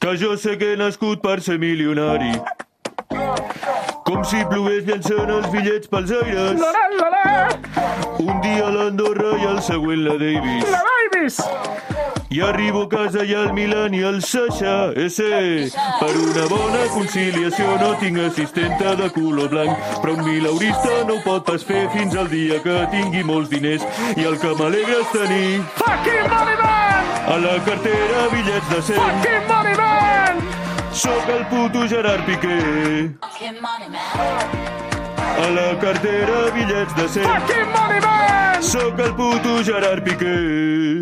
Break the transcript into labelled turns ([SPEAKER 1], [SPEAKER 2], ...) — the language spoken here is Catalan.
[SPEAKER 1] que jo sé que he nascut per ser milionari. Com si plogués llencant els bitllets pels aires.
[SPEAKER 2] La, la, la,
[SPEAKER 1] Un dia l'Andorra i el següent la Davis.
[SPEAKER 2] la Davis!
[SPEAKER 1] I arribo a casa i al Milan i el Sasha S. Per una bona conciliació no tinc assistenta de color blanc, però un milaurista no ho pot pas fer fins al dia que tingui molts diners. I el que m'alegra és tenir
[SPEAKER 2] Fucking money man!
[SPEAKER 1] a la cartera bitllets de 100.
[SPEAKER 2] Fucking money man!
[SPEAKER 1] Sóc el puto Gerard Piqué. A la cartera bitllets de 100.
[SPEAKER 2] Fucking money man!
[SPEAKER 1] Sóc el puto Gerard Piqué.